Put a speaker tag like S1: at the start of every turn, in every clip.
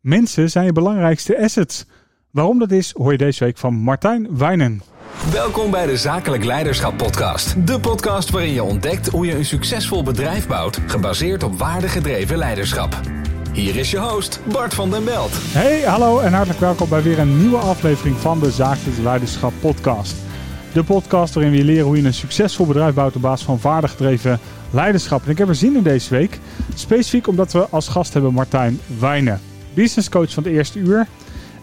S1: Mensen zijn je belangrijkste assets. Waarom dat is, hoor je deze week van Martijn Wijnen.
S2: Welkom bij de Zakelijk Leiderschap Podcast. De podcast waarin je ontdekt hoe je een succesvol bedrijf bouwt, gebaseerd op waardegedreven leiderschap. Hier is je host, Bart van den Belt.
S1: Hey, hallo en hartelijk welkom bij weer een nieuwe aflevering van de Zakelijk Leiderschap Podcast. De podcast waarin we je leren hoe je een succesvol bedrijf bouwt op basis van vaardiggedreven leiderschap. En ik heb er zin in deze week, specifiek omdat we als gast hebben Martijn Wijnen, business coach van het eerste uur.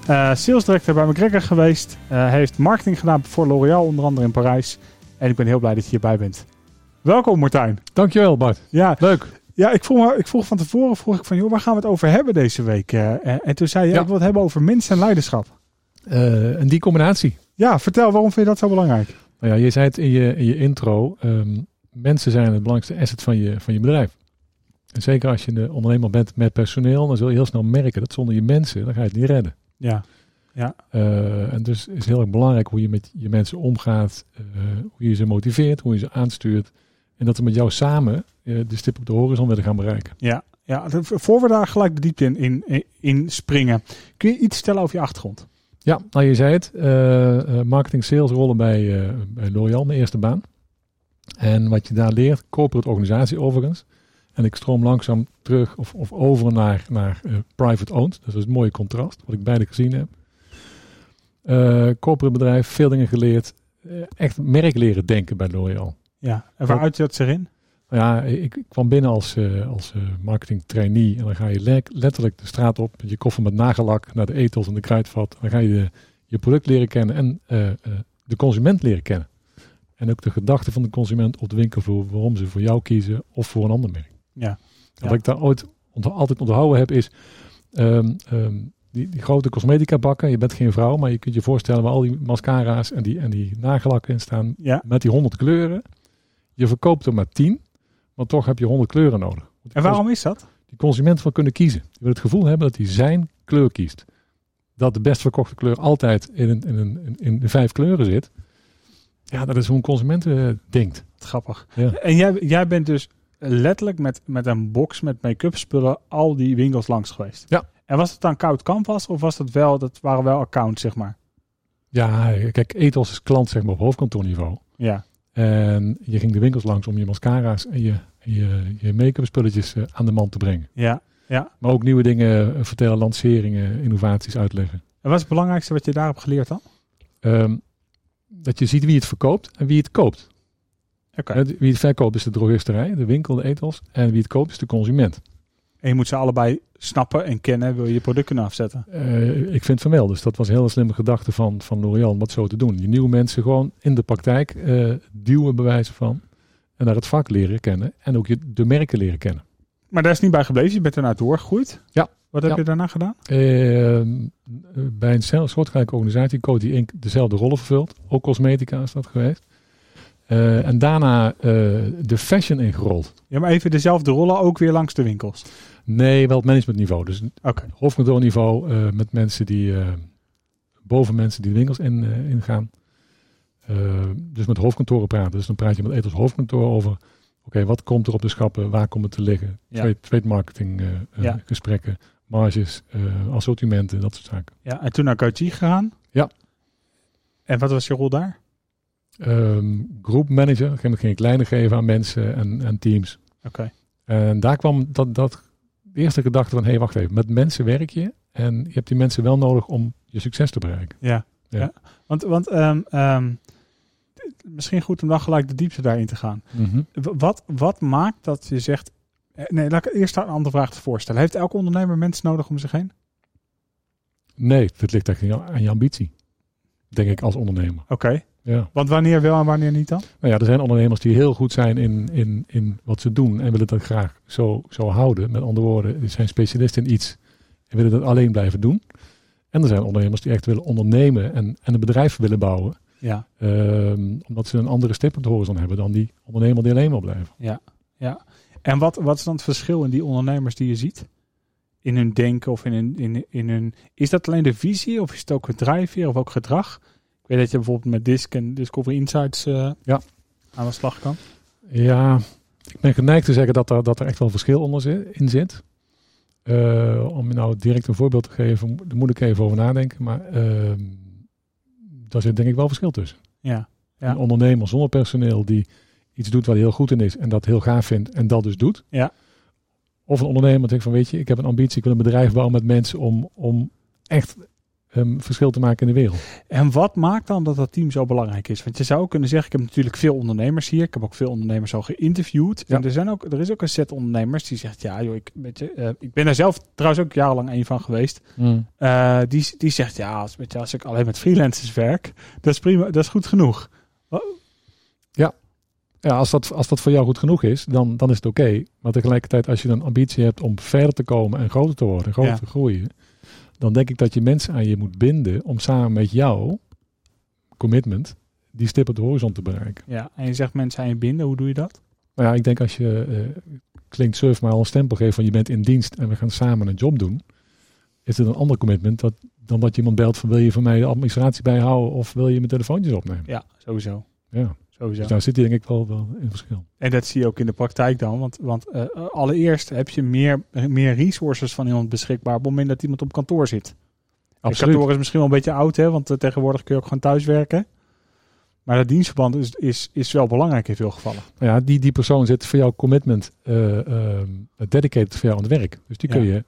S1: Eh sales director bij McGregor geweest. eh, heeft marketing gedaan voor L'Oréal, onder andere in Parijs. En ik ben heel blij dat je hierbij bent. Welkom Martijn.
S3: Dankjewel Bart.
S1: Ja,
S3: Leuk.
S1: Ja, ik vroeg, me- ik vroeg van tevoren vroeg ik van, joh, waar gaan we het over hebben deze week? Eh, eh, en toen zei je,
S3: Ja.
S1: ik wil het hebben over mensen en leiderschap.
S3: Eh, en die combinatie.
S1: Ja, vertel, waarom vind je dat zo belangrijk?
S3: Nou ja, je zei het in je, in je intro. ehm, mensen zijn het belangrijkste asset van je, van je bedrijf. En zeker als je een ondernemer bent met personeel, dan zul je heel snel merken dat zonder je mensen, dan ga je het niet redden.
S1: Ja,
S3: Eh, en dus is heel erg belangrijk hoe je met je mensen omgaat, eh, hoe je ze motiveert, hoe je ze aanstuurt. En dat we met jou samen eh, de stip op de horizon willen gaan bereiken.
S1: ja, ja. de- Voor we daar gelijk de diepte in, in, in- in springen, kun je iets vertellen over je achtergrond?
S3: Ja, nou je zei het. eh, eh, marketing sales rollen bij, eh, bij L'Oréal, mijn eerste baan. En wat je daar leert, corporate organisatie overigens. En ik stroom langzaam terug of, of over naar, naar eh, private owned. Dus dat is het mooie contrast, wat ik beide gezien heb. Eh, corporate bedrijf, veel dingen geleerd. Eh, echt merk leren denken bij L'Oréal.
S1: Ja, en waar uit dat zich in?
S3: Nou Ja, ik ik kwam binnen als, eh, als eh, marketing trainee. En dan ga je le- letterlijk de straat op met je koffer met nagelak naar de etels en de kruidvat. Dan ga je de- je product leren kennen en eh, eh, de consument leren kennen. En ook de gedachten van de consument op de winkelvloer, waarom ze voor jou kiezen of voor een ander merk.
S1: Ja.
S3: En Wat ik daar ooit ont- altijd onthouden heb is ehm, ehm, die, die grote cosmetica bakken. Je bent geen vrouw, maar je kunt je voorstellen waar al die mascara's en die, en die nagelakken in staan
S1: Ja.
S3: met die 100 kleuren. Je verkoopt er maar 10, want toch heb je 100 kleuren nodig. Want die
S1: En
S3: cons-
S1: waarom is dat?
S3: Die consument wil kunnen kiezen. Die wil het gevoel hebben dat hij zijn kleur kiest. Dat de best verkochte kleur altijd in, een, in, een, in, in de vijf kleuren zit. Ja, dat is hoe een consument eh, denkt.
S1: Wat Grappig.
S3: Ja.
S1: En jij, jij bent dus letterlijk met, met een box met make-up spullen al die winkels langs geweest.
S3: Ja.
S1: En was het dan koud canvas of was dat wel, dat waren wel accounts, zeg maar?
S3: Ja, kijk, Ethos is klant zeg maar op hoofdkantoorniveau.
S1: Ja,
S3: En je ging de winkels langs om je mascara's en je, je, je make-up spulletjes eh, aan de man te brengen.
S1: ja.
S3: Maar ook nieuwe dingen eh, vertellen, lanceringen, innovaties uitleggen.
S1: En wat is het belangrijkste wat je daar hebt geleerd dan?
S3: Ehm, dat je ziet wie het verkoopt en wie het koopt.
S1: Oké.
S3: Hè, Wie het verkoopt is de drogisterij, de winkel, de etels. En wie het koopt is de consument.
S1: En je moet ze allebei snappen en kennen, wil je je product kunnen afzetten.
S3: Eh, ik vind van wel, dus dat was een hele slimme gedachte van, van L'Oréal om dat zo te doen. Je nieuwe mensen gewoon in de praktijk eh, duwen bewijzen van. En daar het vak leren kennen en ook je, de merken leren kennen.
S1: Maar daar is niet bij gebleven, je bent ernaar doorgegroeid.
S3: Ja.
S1: Wat heb
S3: Ja.
S1: je daarna gedaan?
S3: Ehm, eh, bij een cel- soortgelijke organisatie, Coty Inc., dezelfde rollen vervult. Ook cosmetica is dat geweest. Eh, en daarna eh, de fashion ingerold.
S1: Ja, maar even dezelfde rollen, ook weer langs de winkels.
S3: Nee, wel het managementniveau. Dus
S1: Oké.
S3: hoofdkantoorniveau eh, met mensen die eh, boven mensen die de winkels in, eh, ingaan. Eh, dus met hoofdkantoren praten. Dus dan praat je met Ethos hoofdkantoor over. Oké, wat komt er op de schappen? Waar komt het te liggen?
S1: Ja.
S3: Trade, trade marketing eh, eh,
S1: Ja.
S3: gesprekken, marges, eh, assortimenten, dat soort zaken.
S1: Ja, en toen naar Coachie gegaan.
S3: Ja.
S1: En wat was je rol daar?
S3: Ehm groepmanager, op een gegeven moment ging ik lijnen geven aan mensen en, en teams.
S1: Oké.
S3: En daar kwam dat, dat de eerste gedachte van, hé, hey, wacht even, met mensen werk je en je hebt die mensen wel nodig om je succes te bereiken.
S1: Ja. ja.
S3: Ja.
S1: Want, want ehm, ehm, d- misschien goed om dan gelijk de diepte daarin te gaan. W- Wat, wat maakt dat je zegt... eh, Nee, laat ik eerst een andere vraag te voorstellen. Heeft elke ondernemer mensen nodig om zich heen?
S3: Nee, dat ligt echt aan jou- aan je ambitie, denk ik, als ondernemer.
S1: Oké.
S3: Ja.
S1: Want wanneer wel en wanneer niet dan?
S3: Nou ja, er zijn ondernemers die heel goed zijn in, in, in wat ze doen en willen dat graag zo, zo houden. Met andere woorden, ze zijn specialist in iets en willen dat alleen blijven doen. En er zijn ondernemers die echt willen ondernemen en, en een bedrijf willen bouwen.
S1: Ja.
S3: ehm, omdat ze een andere stip op de horizon hebben dan die ondernemer die alleen wil blijven.
S1: En wat, wat is dan het verschil in die ondernemers die je ziet? In hun denken of in hun, in, in hun... Is dat alleen de visie of is het ook het drijfveer of ook gedrag? Ik weet dat je bijvoorbeeld met DISC en Discovery Insights eh,
S3: Ja.
S1: aan de slag kan.
S3: Ja, ik ben geneigd te zeggen dat er, dat er echt wel verschil onder zi- in zit. Eh, om nou direct een voorbeeld te geven, daar moet ik even over nadenken. Maar eh, daar zit denk ik wel verschil tussen.
S1: Ja. Ja.
S3: Een ondernemer zonder personeel die iets doet waar hij heel goed in is en dat heel gaaf vindt en dat dus doet.
S1: Ja.
S3: Of een ondernemer die denkt van weet je, ik heb een ambitie, ik wil een bedrijf bouwen met mensen om, om echt ehm, verschil te maken in de wereld.
S1: En wat maakt dan dat dat team zo belangrijk is? Want je zou ook kunnen zeggen, ik heb natuurlijk veel ondernemers hier. Ik heb ook veel ondernemers al geïnterviewd. En
S3: Ja.
S1: er, zijn ook, er is ook een set ondernemers die zegt, ja joh, ik, weet je, eh, ik ben er zelf trouwens ook jarenlang een van geweest. Eh, die, die zegt, ja, als, weet je, als ik alleen met freelancers werk, dat is prima, dat is goed genoeg.
S3: Ja, als dat, als dat voor jou goed genoeg is, dan, dan is het oké. Maar tegelijkertijd, als je dan ambitie hebt om verder te komen en groter te worden, groter
S1: Ja.
S3: te groeien, dan denk ik dat je mensen aan je moet binden om samen met jou commitment die stip op de horizon te bereiken.
S1: Ja, en je zegt mensen aan je binden, hoe doe je dat?
S3: Nou ja, ik denk als je eh, klinkt surf maar al een stempel geeft van je bent in dienst en we gaan samen een job doen, is het een ander commitment dat, dan dat je iemand belt van wil je van mij de administratie bijhouden of wil je mijn telefoontjes opnemen.
S1: Ja, sowieso.
S3: Ja.
S1: sowieso.
S3: Dus daar zit denk ik wel, wel in verschil.
S1: En dat zie je ook in de praktijk dan. Want, want eh, allereerst heb je meer, meer resources van iemand beschikbaar op het moment dat iemand op kantoor zit. Het kantoor is misschien wel een beetje oud, hè, want eh, tegenwoordig kun je ook gewoon thuiswerken. Maar dat dienstverband is, is, is wel belangrijk in veel gevallen.
S3: Nou ja, die, die persoon zit voor jouw commitment eh, ehm, dedicated voor jou aan het werk. Dus die kun
S1: Ja.
S3: je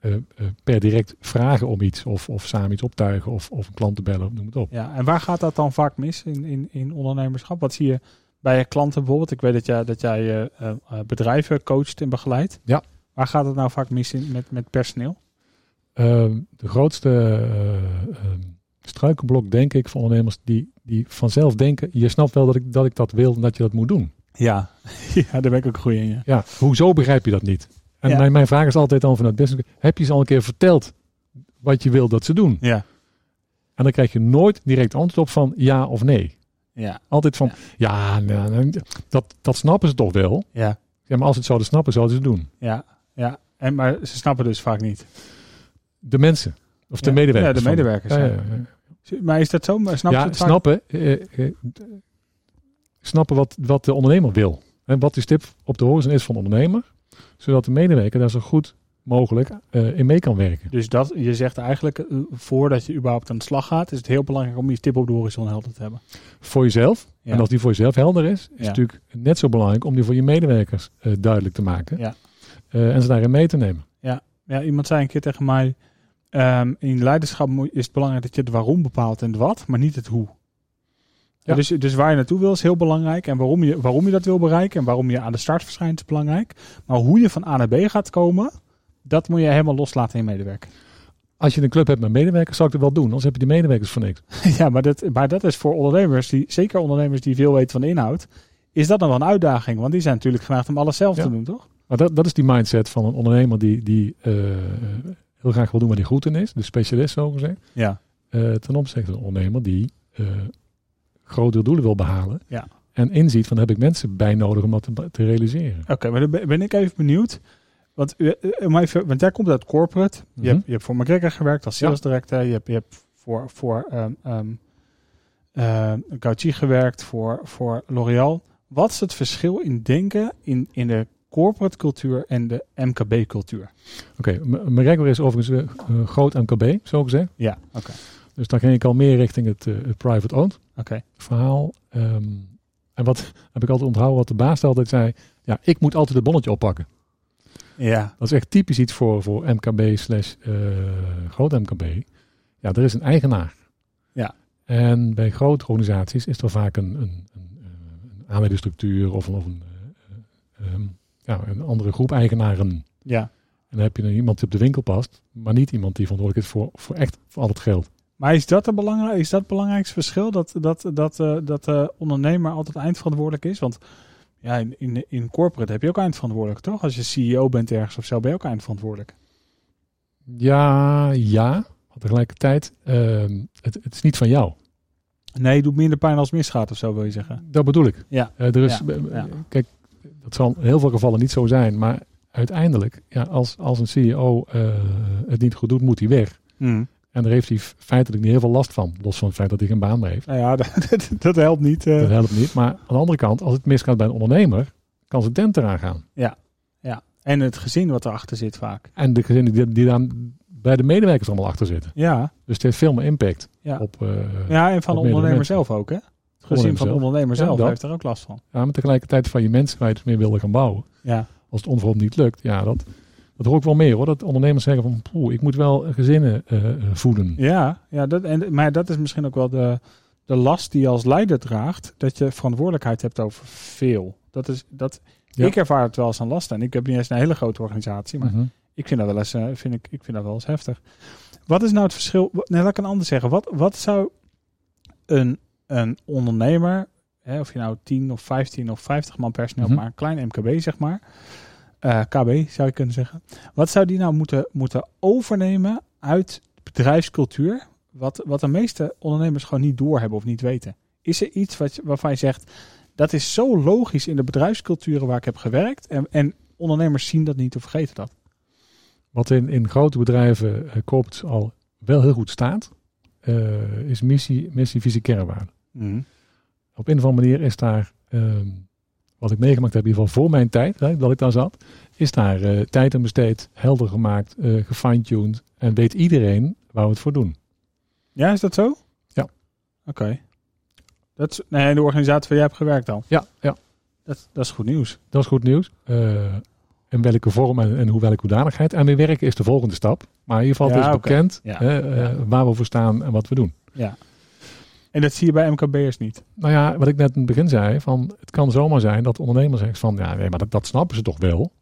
S3: eh, eh, per direct vragen om iets of, of samen iets optuigen of, of een klant te bellen, noem het op.
S1: Ja, en waar gaat dat dan vaak mis in, in, in ondernemerschap? Wat zie je bij je klanten bijvoorbeeld? Ik weet dat jij, dat jij eh, eh, eh, bedrijven coacht en begeleidt.
S3: Ja.
S1: Waar gaat het nou vaak mis in, met, met personeel?
S3: Ehm, de grootste eh, ehm, struikelblok, denk ik, van ondernemers die, die vanzelf denken: je snapt wel dat ik, dat ik dat wil en dat je dat moet doen.
S1: Ja. ja, daar ben ik ook goed in. Ja.
S3: Ja, hoezo begrijp je dat niet? En
S1: Ja.
S3: mijn, mijn vraag is altijd dan vanuit business: heb je ze al een keer verteld wat je wil dat ze doen?
S1: Ja.
S3: En dan krijg je nooit direct antwoord op van ja of nee.
S1: Ja.
S3: Altijd van ja, nou, nou, dat, dat snappen ze toch wel.
S1: ja.
S3: Ja, maar als ze het zouden snappen, zouden ze het doen.
S1: ja. ja. En, maar ze snappen dus vaak niet.
S3: De mensen of de
S1: Ja.
S3: medewerkers.
S1: Ja, de
S3: van-
S1: medewerkers.
S3: Ja,
S1: ja.
S3: ja, ja.
S1: Maar is dat zo? Maar Snap je
S3: ja,
S1: het vaak?
S3: snappen, eh, eh, snappen wat, wat de ondernemer wil. En wat de stip op de horizon is van de ondernemer. Zodat de medewerker daar zo goed mogelijk eh, in mee kan werken.
S1: Dus dat, je zegt eigenlijk, eh, voordat je überhaupt aan de slag gaat, is het heel belangrijk om je tip op de horizon helder te hebben.
S3: Voor jezelf.
S1: Ja.
S3: En als die voor jezelf helder is, is
S1: Ja.
S3: het natuurlijk net zo belangrijk om die voor je medewerkers eh, duidelijk te maken.
S1: Ja.
S3: Eh, en ze daarin mee te nemen.
S1: Ja, iemand zei een keer tegen mij, ehm, in leiderschap moet- is het belangrijk dat je het waarom bepaalt en het wat, maar niet het hoe.
S3: Ja.
S1: Dus, dus waar je naartoe wil is heel belangrijk en waarom je, waarom je dat wil bereiken en waarom je aan de start verschijnt is belangrijk. Maar hoe je van A naar B gaat komen, dat moet je helemaal loslaten in je medewerker.
S3: Als je een club hebt met medewerkers, zal ik dat wel doen. Anders heb je die medewerkers voor niks.
S1: ja, maar dat, maar dat is voor ondernemers, die, zeker ondernemers die veel weten van de inhoud, is dat dan wel een uitdaging. Want die zijn natuurlijk geneigd om alles zelf
S3: Ja.
S1: te doen, toch?
S3: Maar dat, dat is die mindset van een ondernemer die, die eh, heel graag wil doen waar hij goed in is. De specialist, zo gezegd.
S1: Ja.
S3: eh, ten opzichte van een ondernemer die eh grotere doelen wil behalen.
S1: Ja.
S3: En inziet van daar heb ik mensen bij nodig om dat te, te realiseren.
S1: Oké, maar dan ben ben ik even benieuwd. Want, eh, eh, om even, want jij komt uit corporate. Je,
S3: Mhm.
S1: hebt, je hebt voor McGregor gewerkt als
S3: Ja.
S1: sales director. Je hebt, je hebt voor, voor ehm ehm, ehm, Gucci gewerkt, voor, voor L'Oreal. Wat is het verschil in denken in, in de corporate cultuur en de MKB cultuur?
S3: Oké, M- McGregor is overigens eh, eh, groot MKB, zo gezegd.
S1: Ja, oké.
S3: Dus daar ging ik al meer richting het, eh, het private owned
S1: Oké.
S3: verhaal. Ehm, en wat heb ik altijd onthouden wat de baas altijd zei. Ja, ik moet altijd het bonnetje oppakken.
S1: Ja.
S3: Dat is echt typisch iets voor, voor MKB slash eh, groot MKB. Ja, er is een eigenaar.
S1: Ja.
S3: En bij grote organisaties is er vaak een, een, een, eh, een aandelenstructuur of een, of een, eh, eh, ehm, ja, een andere groep eigenaren. En
S1: Ja.
S3: dan heb je dan iemand die op de winkel past, maar niet iemand die verantwoordelijk is voor, voor echt voor al het geld.
S1: Maar is dat, een belangrij- is dat het belangrijkste verschil? Dat, dat, dat, eh, dat de ondernemer altijd eindverantwoordelijk is? Want ja, in, in, in corporate heb je ook eindverantwoordelijk, toch? Als je CEO bent ergens of zo, ben je ook eindverantwoordelijk.
S3: Ja, ja. Maar tegelijkertijd, ehm, het, het is niet van jou.
S1: Nee, het doet minder pijn als het misgaat of zo, wil je zeggen.
S3: Dat bedoel ik.
S1: Ja.
S3: Eh, er is,
S1: Ja,
S3: eh,
S1: ja.
S3: Kijk, dat zal in heel veel gevallen niet zo zijn. Maar uiteindelijk, ja, als, als een CEO eh, het niet goed doet, moet hij weg. En daar heeft hij f- feitelijk niet heel veel last van. Los van het feit dat hij geen baan meer heeft.
S1: Nou ja, dat, dat, dat helpt niet. eh.
S3: Dat helpt niet. Maar aan de andere kant, als het misgaat bij een ondernemer, kan zijn tent eraan gaan.
S1: Ja, En het gezin wat erachter zit vaak.
S3: En de gezinnen die, die daar bij de medewerkers allemaal achter zitten.
S1: Ja,
S3: Dus het heeft veel meer impact
S1: Ja.
S3: op... eh,
S1: ja en van de
S3: Op meerdere
S1: ondernemer
S3: mensen.
S1: zelf ook, hè? Het gezin
S3: Ondernemer
S1: van de
S3: zelf.
S1: ondernemer
S3: Ja,
S1: zelf
S3: dat.
S1: heeft er ook last van.
S3: ja, maar tegelijkertijd van je mensen waar je dus mee wilde gaan bouwen.
S1: Ja,
S3: als het onverhoopt niet lukt, ja, dat, dat hoor ik wel meer hoor. Dat ondernemers zeggen van, poeh, ik moet wel gezinnen eh, eh, voeden.
S1: ja, ja dat, en, maar dat is misschien ook wel de, de last die je als leider draagt. Dat je verantwoordelijkheid hebt over veel. Dat is, dat,
S3: Ja.
S1: Ik ervaar het wel als een last. En ik heb niet eens een hele grote organisatie. Maar
S3: Mhm.
S1: ik vind dat wel eens, eh, vind ik, ik vind dat wel eens heftig. Wat is nou het verschil? wa- Nee, laat ik een ander zeggen. Wat, wat zou een, een ondernemer, hè, of je nou 10 of 15 of 50 man personeel,
S3: Mhm.
S1: maar een klein MKB zeg maar, eh, KB zou je kunnen zeggen. Wat zou die nou moeten, moeten overnemen uit bedrijfscultuur, wat, wat de meeste ondernemers gewoon niet doorhebben of niet weten? Is er iets wat, je- waarvan je zegt, dat is zo logisch in de bedrijfsculturen waar ik heb gewerkt en, en ondernemers zien dat niet of vergeten dat?
S3: Wat in, in grote bedrijven eh koopt al wel heel goed staat, eh, is missie, missie, visie, kernwaarde. Op een of andere manier is daar, ehm, wat ik meegemaakt heb, in ieder geval voor mijn tijd, hè, dat ik daar zat, is daar eh, tijd aan besteed, helder gemaakt, eh gefine-tuned en weet iedereen waar we het voor doen.
S1: Ja, is dat zo?
S3: Ja.
S1: Oké. Dat is, nee, de organisatie waar jij hebt gewerkt dan.
S3: Ja, ja.
S1: Dat, dat is goed nieuws.
S3: Dat is goed nieuws. Eh, in welke vorm en, en hoe welke hoedanigheid. En weer werken is de volgende stap. Maar in ieder geval
S1: Ja,
S3: het is
S1: oké.
S3: bekend
S1: Ja.
S3: hè, eh, waar we voor staan en wat we doen.
S1: En dat zie je bij MKB'ers niet.
S3: Nou ja, wat ik net in het begin zei, van, het kan zomaar zijn dat de ondernemer zegt van ja, nee, maar dat, dat snappen ze toch wel.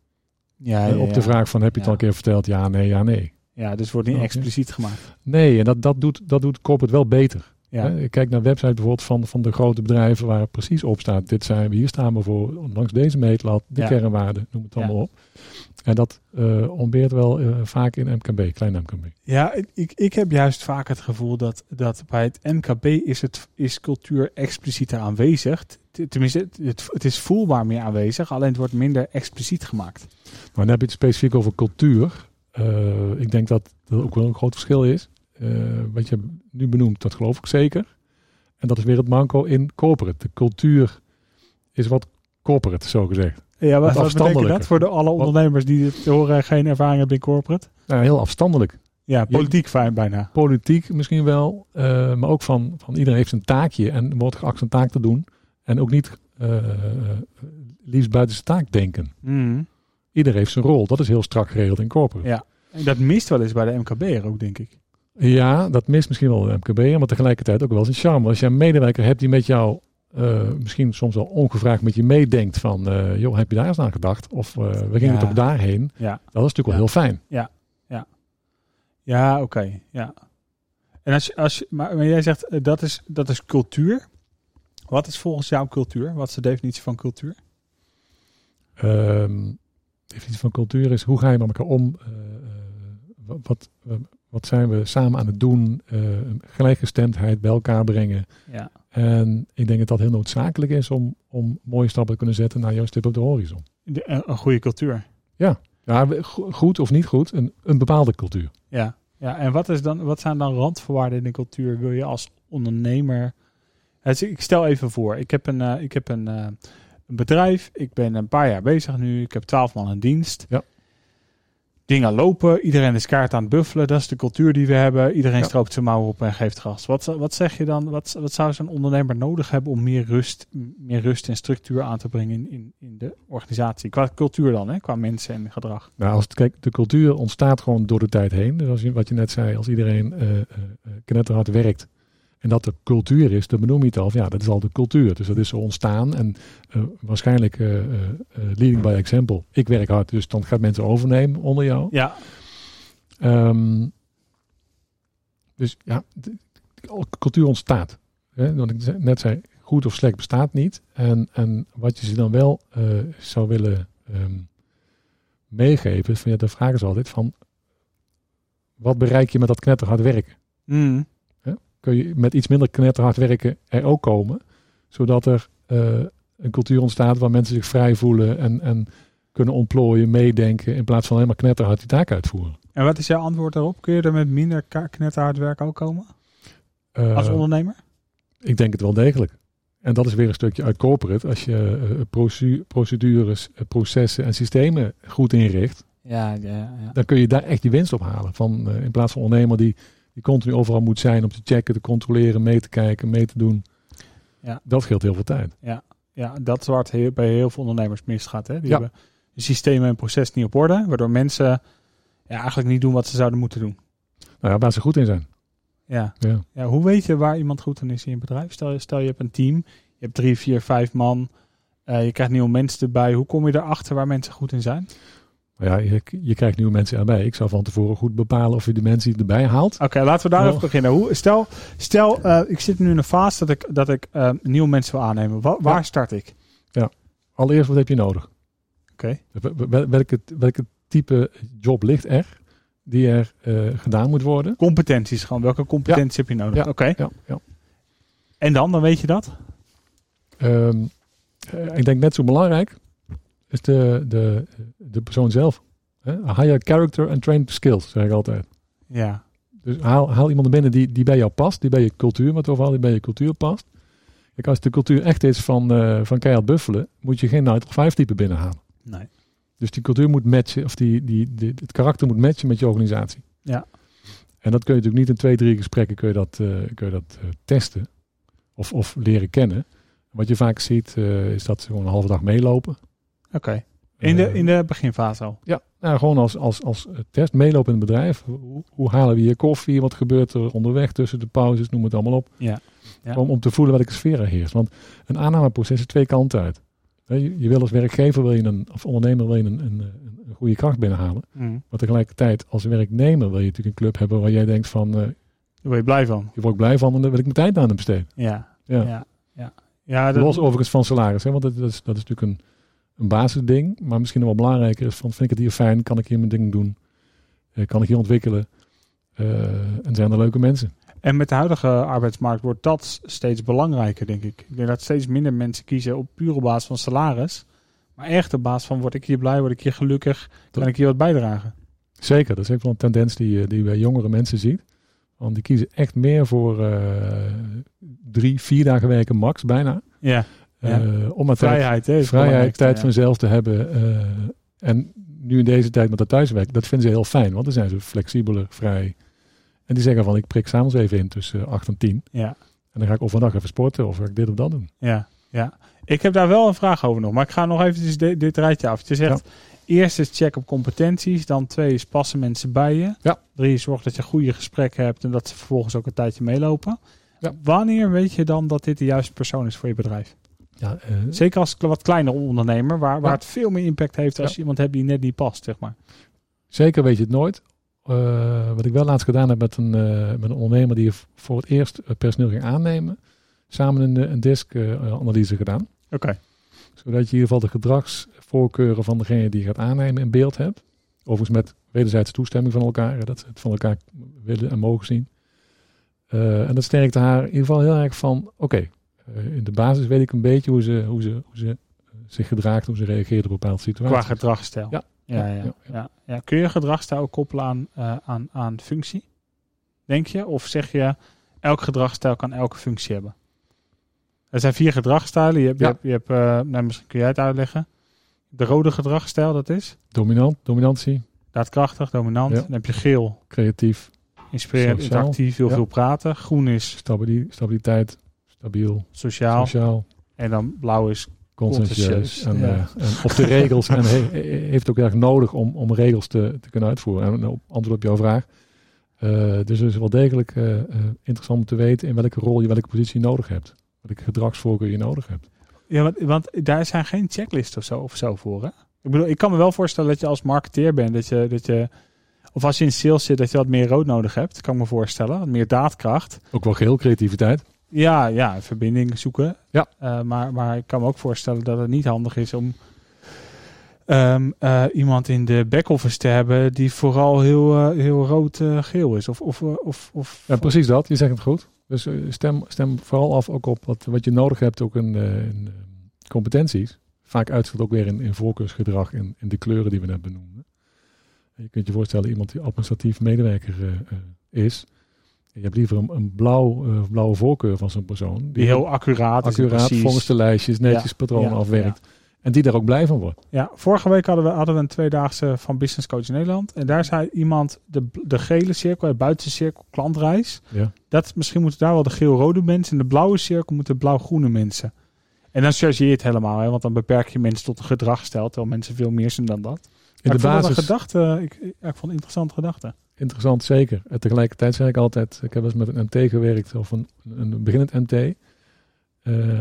S1: Ja,
S3: Eh, op de vraag van heb je
S1: Ja.
S3: het al een keer verteld? Ja, nee, ja, nee.
S1: Ja, dus het wordt niet
S3: Oké.
S1: expliciet gemaakt.
S3: Nee, en dat, dat, doet, dat doet corporate wel beter.
S1: Ja.
S3: Hè, Ik kijk naar websites bijvoorbeeld van, van de grote bedrijven waar het precies op staat. Dit zijn we, hier staan we voor, langs deze meetlat, de
S1: Ja.
S3: kernwaarden, noem het
S1: Ja.
S3: allemaal op. En dat eh ontbeert wel eh, vaak in MKB, klein MKB.
S1: Ja, ik, ik heb juist vaak het gevoel dat, dat bij het MKB is, het, is cultuur explicieter aanwezig. T- Tenminste, het- het, het is voelbaar meer aanwezig, alleen het wordt minder expliciet gemaakt.
S3: Maar dan heb je het specifiek over cultuur. Eh, ik denk dat dat ook wel een groot verschil is. Eh, wat je nu benoemt, dat geloof ik zeker. En dat is weer het manco in corporate. De cultuur is wat corporate, zo gezegd.
S1: Ja, wat, wat betekent dat
S3: afstandelijker.
S1: voor de alle ondernemers die dit horen en geen ervaring hebben in corporate?
S3: Nou, heel afstandelijk.
S1: Ja, politiek fijn bijna.
S3: Politiek misschien wel, eh, maar ook van, van iedereen heeft zijn taakje en wordt geacht zijn taak te doen. En ook niet eh, eh, liefst buiten zijn taak denken. Iedereen heeft zijn rol. Dat is heel strak geregeld in corporate.
S1: En Dat mist wel eens bij de MKB'er ook, denk ik.
S3: Ja, dat mist misschien wel de MKB'er, maar tegelijkertijd ook wel zijn charme. Als je een medewerker hebt die met jou, eh, misschien soms wel ongevraagd met je meedenkt van, eh, joh, heb je daar eens aan gedacht? Of eh, we gingen
S1: Ja.
S3: toch daarheen?
S1: Ja.
S3: Dat is natuurlijk wel heel fijn.
S1: Ja, oké. Ja. En als, je- als, je- maar, maar jij zegt eh, dat is, dat is cultuur. Wat is volgens jou cultuur? Wat is de definitie van cultuur?
S3: Ehm, de definitie van cultuur is, hoe ga je met elkaar om? Eh, eh, wa- wat, eh, wat zijn we samen aan het doen? Eh, gelijkgestemdheid bij elkaar brengen.
S1: Ja.
S3: En ik denk dat dat heel noodzakelijk is om, om mooie stappen te kunnen zetten naar jouw stip op de horizon.
S1: De, eh, een, een goede cultuur.
S3: Ja, we- go- goed of niet goed, een, een bepaalde cultuur.
S1: Ja. ja. En wat, is dan, wat zijn dan randvoorwaarden in de cultuur? Wil je als ondernemer. Het is- ik stel even voor, ik heb een, eh, ik heb een, eh, een bedrijf. Ik ben een paar jaar bezig nu. Ik heb twaalf man in dienst.
S3: Ja.
S1: Dingen lopen, iedereen is kaart aan het buffelen. Dat is de cultuur die we hebben. Iedereen
S3: Ja.
S1: stroopt zijn mouwen op en geeft gas. Wat, zou- wat zeg je dan? Wat, wat zou zo'n ondernemer nodig hebben om meer rust, m- meer rust en structuur aan te brengen in, in, in de organisatie? Qua cultuur dan, hè? qua mensen en gedrag.
S3: Nou, als het, kijk, de cultuur ontstaat gewoon door de tijd heen. Dus als je, wat je net zei, als iedereen eh, eh, eh, knetterhard werkt en dat de cultuur is, dan benoem je het al. van, Ja, dat is al de cultuur. Dus dat is zo ontstaan en eh, waarschijnlijk eh, eh, eh, leading by example. Ik werk hard, dus dan gaat mensen overnemen onder jou.
S1: Ja,
S3: Ehm, dus ja, de- de cultuur ontstaat. Hè? Want ik ze- net zei, goed of slecht bestaat niet. En, en wat je ze dan wel eh, zou willen ehm, meegeven, is van, ja, de vraag is altijd van, wat bereik je met dat knetterhard werken?
S1: Mm.
S3: Kun je met iets minder knetterhard werken er ook komen, zodat er eh, een cultuur ontstaat waar mensen zich vrij voelen en, en kunnen ontplooien, meedenken, in plaats van helemaal knetterhard die taak uitvoeren.
S1: En wat is jouw antwoord daarop? Kun je er met minder ka- knetterhard werk ook komen?
S3: Eh,
S1: Als ondernemer?
S3: Ik denk het wel degelijk. En dat is weer een stukje uit corporate. Als je eh, procu- procedures, eh, processen en systemen goed inricht,
S1: Ja, ja, ja.
S3: dan kun je daar echt je winst op halen. Van, eh, in plaats van ondernemer die, die continu overal moet zijn om te checken, te controleren, mee te kijken, mee te doen.
S1: Ja.
S3: Dat scheelt heel veel tijd.
S1: Ja, dat is waar het heel- bij heel veel ondernemers misgaat. Hè? Die
S3: Ja.
S1: hebben de systemen en proces niet op orde, waardoor mensen ja, eigenlijk niet doen wat ze zouden moeten doen.
S3: Nou ja, waar ze goed in zijn.
S1: Ja.
S3: Ja.
S1: Ja, hoe weet je waar iemand goed in is in je bedrijf? Stel, stel je hebt een team, je hebt drie, vier, vijf man, eh, je krijgt nieuwe mensen erbij. Hoe kom je erachter waar mensen goed in zijn?
S3: Maar ja, je, je krijgt nieuwe mensen erbij. Ik zou van tevoren goed bepalen of je de mensen die erbij haalt.
S1: Oké, laten we daar
S3: Oh.
S1: even beginnen. Hoe, stel, stel eh, ik zit nu in een fase dat ik, dat ik eh, nieuwe mensen wil aannemen. Wa- waar
S3: Ja.
S1: start ik?
S3: Allereerst, wat heb je nodig?
S1: Oké.
S3: Wel- wel- Welke, welke type job ligt er die er eh, gedaan moet worden?
S1: Competenties gewoon. Welke competenties heb je nodig? Oké.
S3: Ja, ja.
S1: En dan, dan weet je dat?
S3: Ehm, eh, ik denk net zo belangrijk is de, de, de persoon zelf. Hè? Hire character and train skills, zeg ik altijd.
S1: Ja.
S3: Dus haal, haal iemand binnen die, die bij jou past, die bij je cultuur, wat we overal die bij je cultuur past. Kijk, als de cultuur echt is van, eh, van keihard buffelen, moet je geen 9 tot 5 type binnenhalen.
S1: Nee.
S3: Dus die cultuur moet matchen, of die, die, die- het karakter moet matchen met je organisatie.
S1: Ja.
S3: En dat kun je natuurlijk niet in twee, drie gesprekken kun je dat, eh, kun je dat eh, testen of, of leren kennen. Wat je vaak ziet, eh, is dat ze gewoon een halve dag meelopen.
S1: Oké. In de,
S3: Eh,
S1: in de beginfase al.
S3: Ja, nou, gewoon als, als, als eh, test meelopen in het bedrijf. Hoe, hoe halen we hier koffie? Wat gebeurt er onderweg tussen de pauzes? Noem het allemaal op.
S1: Ja. Ja.
S3: Om, om te voelen welke sfeer er heerst. Want een aannameproces is twee kanten uit. Hè, Je, je wil als werkgever wil je een, of ondernemer wil je een, een, een- een goede kracht binnenhalen. Maar tegelijkertijd als werknemer wil je natuurlijk een club hebben waar jij denkt van... eh
S1: Daar word je blij van.
S3: je wordt blij van en daar wil ik mijn tijd aan hem besteden.
S1: Ja.
S3: Ja.
S1: Ja. ja. ja dat-
S3: Los overigens van salaris. Hè? Want dat, dat, is, dat is natuurlijk een, een basisding. Maar misschien nog wel belangrijker is van vind ik het hier fijn? Kan ik hier mijn ding doen? Eh, kan ik hier ontwikkelen? Eh, en zijn er leuke mensen?
S1: En met de huidige arbeidsmarkt wordt dat s- steeds belangrijker, denk ik. Ik denk dat steeds minder mensen kiezen op pure basis van salaris. Maar echt op basis van word ik hier blij, word ik hier gelukkig, kan
S3: Dat-
S1: ik hier wat bijdragen.
S3: Zeker, dat is echt wel een tendens die, je- die je bij jongere mensen ziet. Want die kiezen echt meer voor eh, drie, vier dagen werken max bijna.
S1: Ja, Ja.
S3: Eh, om maar tijd,
S1: vrijheid. Hè, is
S3: vrijheid,
S1: belangrijk,
S3: tijd
S1: ja.
S3: vanzelf te hebben. eh, en nu in deze tijd met dat thuiswerk, dat vinden ze heel fijn. Want dan zijn ze flexibeler, vrij. En die zeggen van ik prik s'avonds even in tussen 8 en 10.
S1: Ja,
S3: En dan ga ik overdag even sporten of ga ik dit of dat doen.
S1: ja, ja. Ik heb daar wel een vraag over nog, maar ik ga nog eventjes di- dit rijtje af. Je zegt, eerst is check op competenties, dan twee is passen mensen bij je.
S3: Ja.
S1: Drie is zorg dat je goede gesprekken hebt en dat ze vervolgens ook een tijdje meelopen.
S3: Ja.
S1: Wanneer weet je dan dat dit de juiste persoon is voor je bedrijf?
S3: Ja, eh,
S1: Zeker als wat kleiner ondernemer, waar, waar
S3: Ja.
S1: het veel meer impact heeft als
S3: Ja.
S1: je iemand hebt die net niet past, zeg maar.
S3: zeker weet je het nooit. Eh, wat ik wel laatst gedaan heb met een, eh, met een ondernemer die voor het eerst eh, personeel ging aannemen. Samen een, eh, een disk-analyse gedaan.
S1: Oké.
S3: Zodat je in ieder geval de gedragsvoorkeuren van degene die je gaat aannemen in beeld hebt. Overigens met wederzijdse toestemming van elkaar. hè, Dat ze het van elkaar willen en mogen zien. Eh, en dat sterkte haar in ieder geval heel erg van... Oké, eh, in de basis weet ik een beetje hoe ze, hoe ze, hoe ze eh, zich gedraagt. Hoe ze reageert op bepaalde situaties.
S1: Qua gedragsstijl.
S3: Ja.
S1: Ja, ja,
S3: Ja,
S1: ja,
S3: ja,
S1: Ja, Kun je gedragsstijl ook koppelen aan, eh, aan, aan functie, denk je? Of zeg je, elk gedragsstijl kan elke functie hebben? Er zijn vier gedragsstijlen. Je hebt,
S3: Ja.
S1: je hebt, je hebt eh, nou, misschien kun jij het uitleggen. De rode gedragsstijl, dat is
S3: Dominant, dominantie,
S1: daadkrachtig, dominant.
S3: Ja.
S1: Dan heb je geel,
S3: creatief,
S1: inspirerend,
S3: Sociaal.
S1: interactief, heel
S3: Ja.
S1: veel praten. Groen is
S3: stabili- stabiliteit, stabiel,
S1: sociaal.
S3: sociaal,
S1: En dan blauw is
S3: conscientieus.
S1: Conscientieus,
S3: En,
S1: ja.
S3: eh, en op de regels. en he- he- heeft ook erg nodig om, om regels te, te kunnen uitvoeren. En op, antwoord op jouw vraag. Eh, dus het is wel degelijk eh, eh, interessant om te weten in welke rol je welke positie nodig hebt. Welke gedragsvoorkeur je nodig hebt.
S1: Ja, want, want daar zijn geen checklists of zo, of zo voor, hè? Ik bedoel, ik kan me wel voorstellen dat je als marketeer bent, dat je, dat je... Of als je in sales zit, dat je wat meer rood nodig hebt, kan ik me voorstellen. Wat meer daadkracht.
S3: Ook wel geheel creativiteit.
S1: Ja, ja, verbinding zoeken.
S3: Ja.
S1: Eh, maar, maar ik kan me ook voorstellen dat het niet handig is om... ehm, eh, iemand in de back-office te hebben die vooral heel, eh, heel rood-geel is. Of, of, eh, of, of,
S3: Ja, precies dat. Je zegt het goed. Dus eh, stem, stem vooral af ook op wat, wat je nodig hebt ook in, eh, in, eh, competenties. Vaak uitzicht ook weer in, in voorkeursgedrag en in de kleuren die we net benoemden. En Je kunt je voorstellen, iemand die administratief medewerker eh, eh, is, Je hebt liever een, een blauw, eh, blauwe voorkeur van zo'n persoon. Die,
S1: Die heel accuraat, is en
S3: accuraat
S1: precies.
S3: volgens de lijstjes, netjes
S1: Ja,
S3: patronen
S1: ja,
S3: afwerkt. En die daar ook blij van wordt.
S1: Ja, vorige week hadden we, hadden we een tweedaagse van Business Coach Nederland. En daar zei iemand, de, de gele cirkel, de buitenste cirkel, klantreis.
S3: Ja.
S1: Dat, misschien moeten daar wel de geel-rode mensen. En de blauwe cirkel moeten blauw-groene mensen. En dan chargeer je het helemaal, hè, want dan beperk je mensen tot een gedragsstijl. Terwijl mensen veel meer zijn dan dat.
S3: In
S1: Maar
S3: de
S1: ik vond wel een
S3: basis,
S1: gedachte, eh, ik, ik, ik vond het een interessante gedachte.
S3: interessant zeker. En tegelijkertijd zeg ik altijd, ik heb eens met een MT gewerkt of een, een beginnend MT. eh,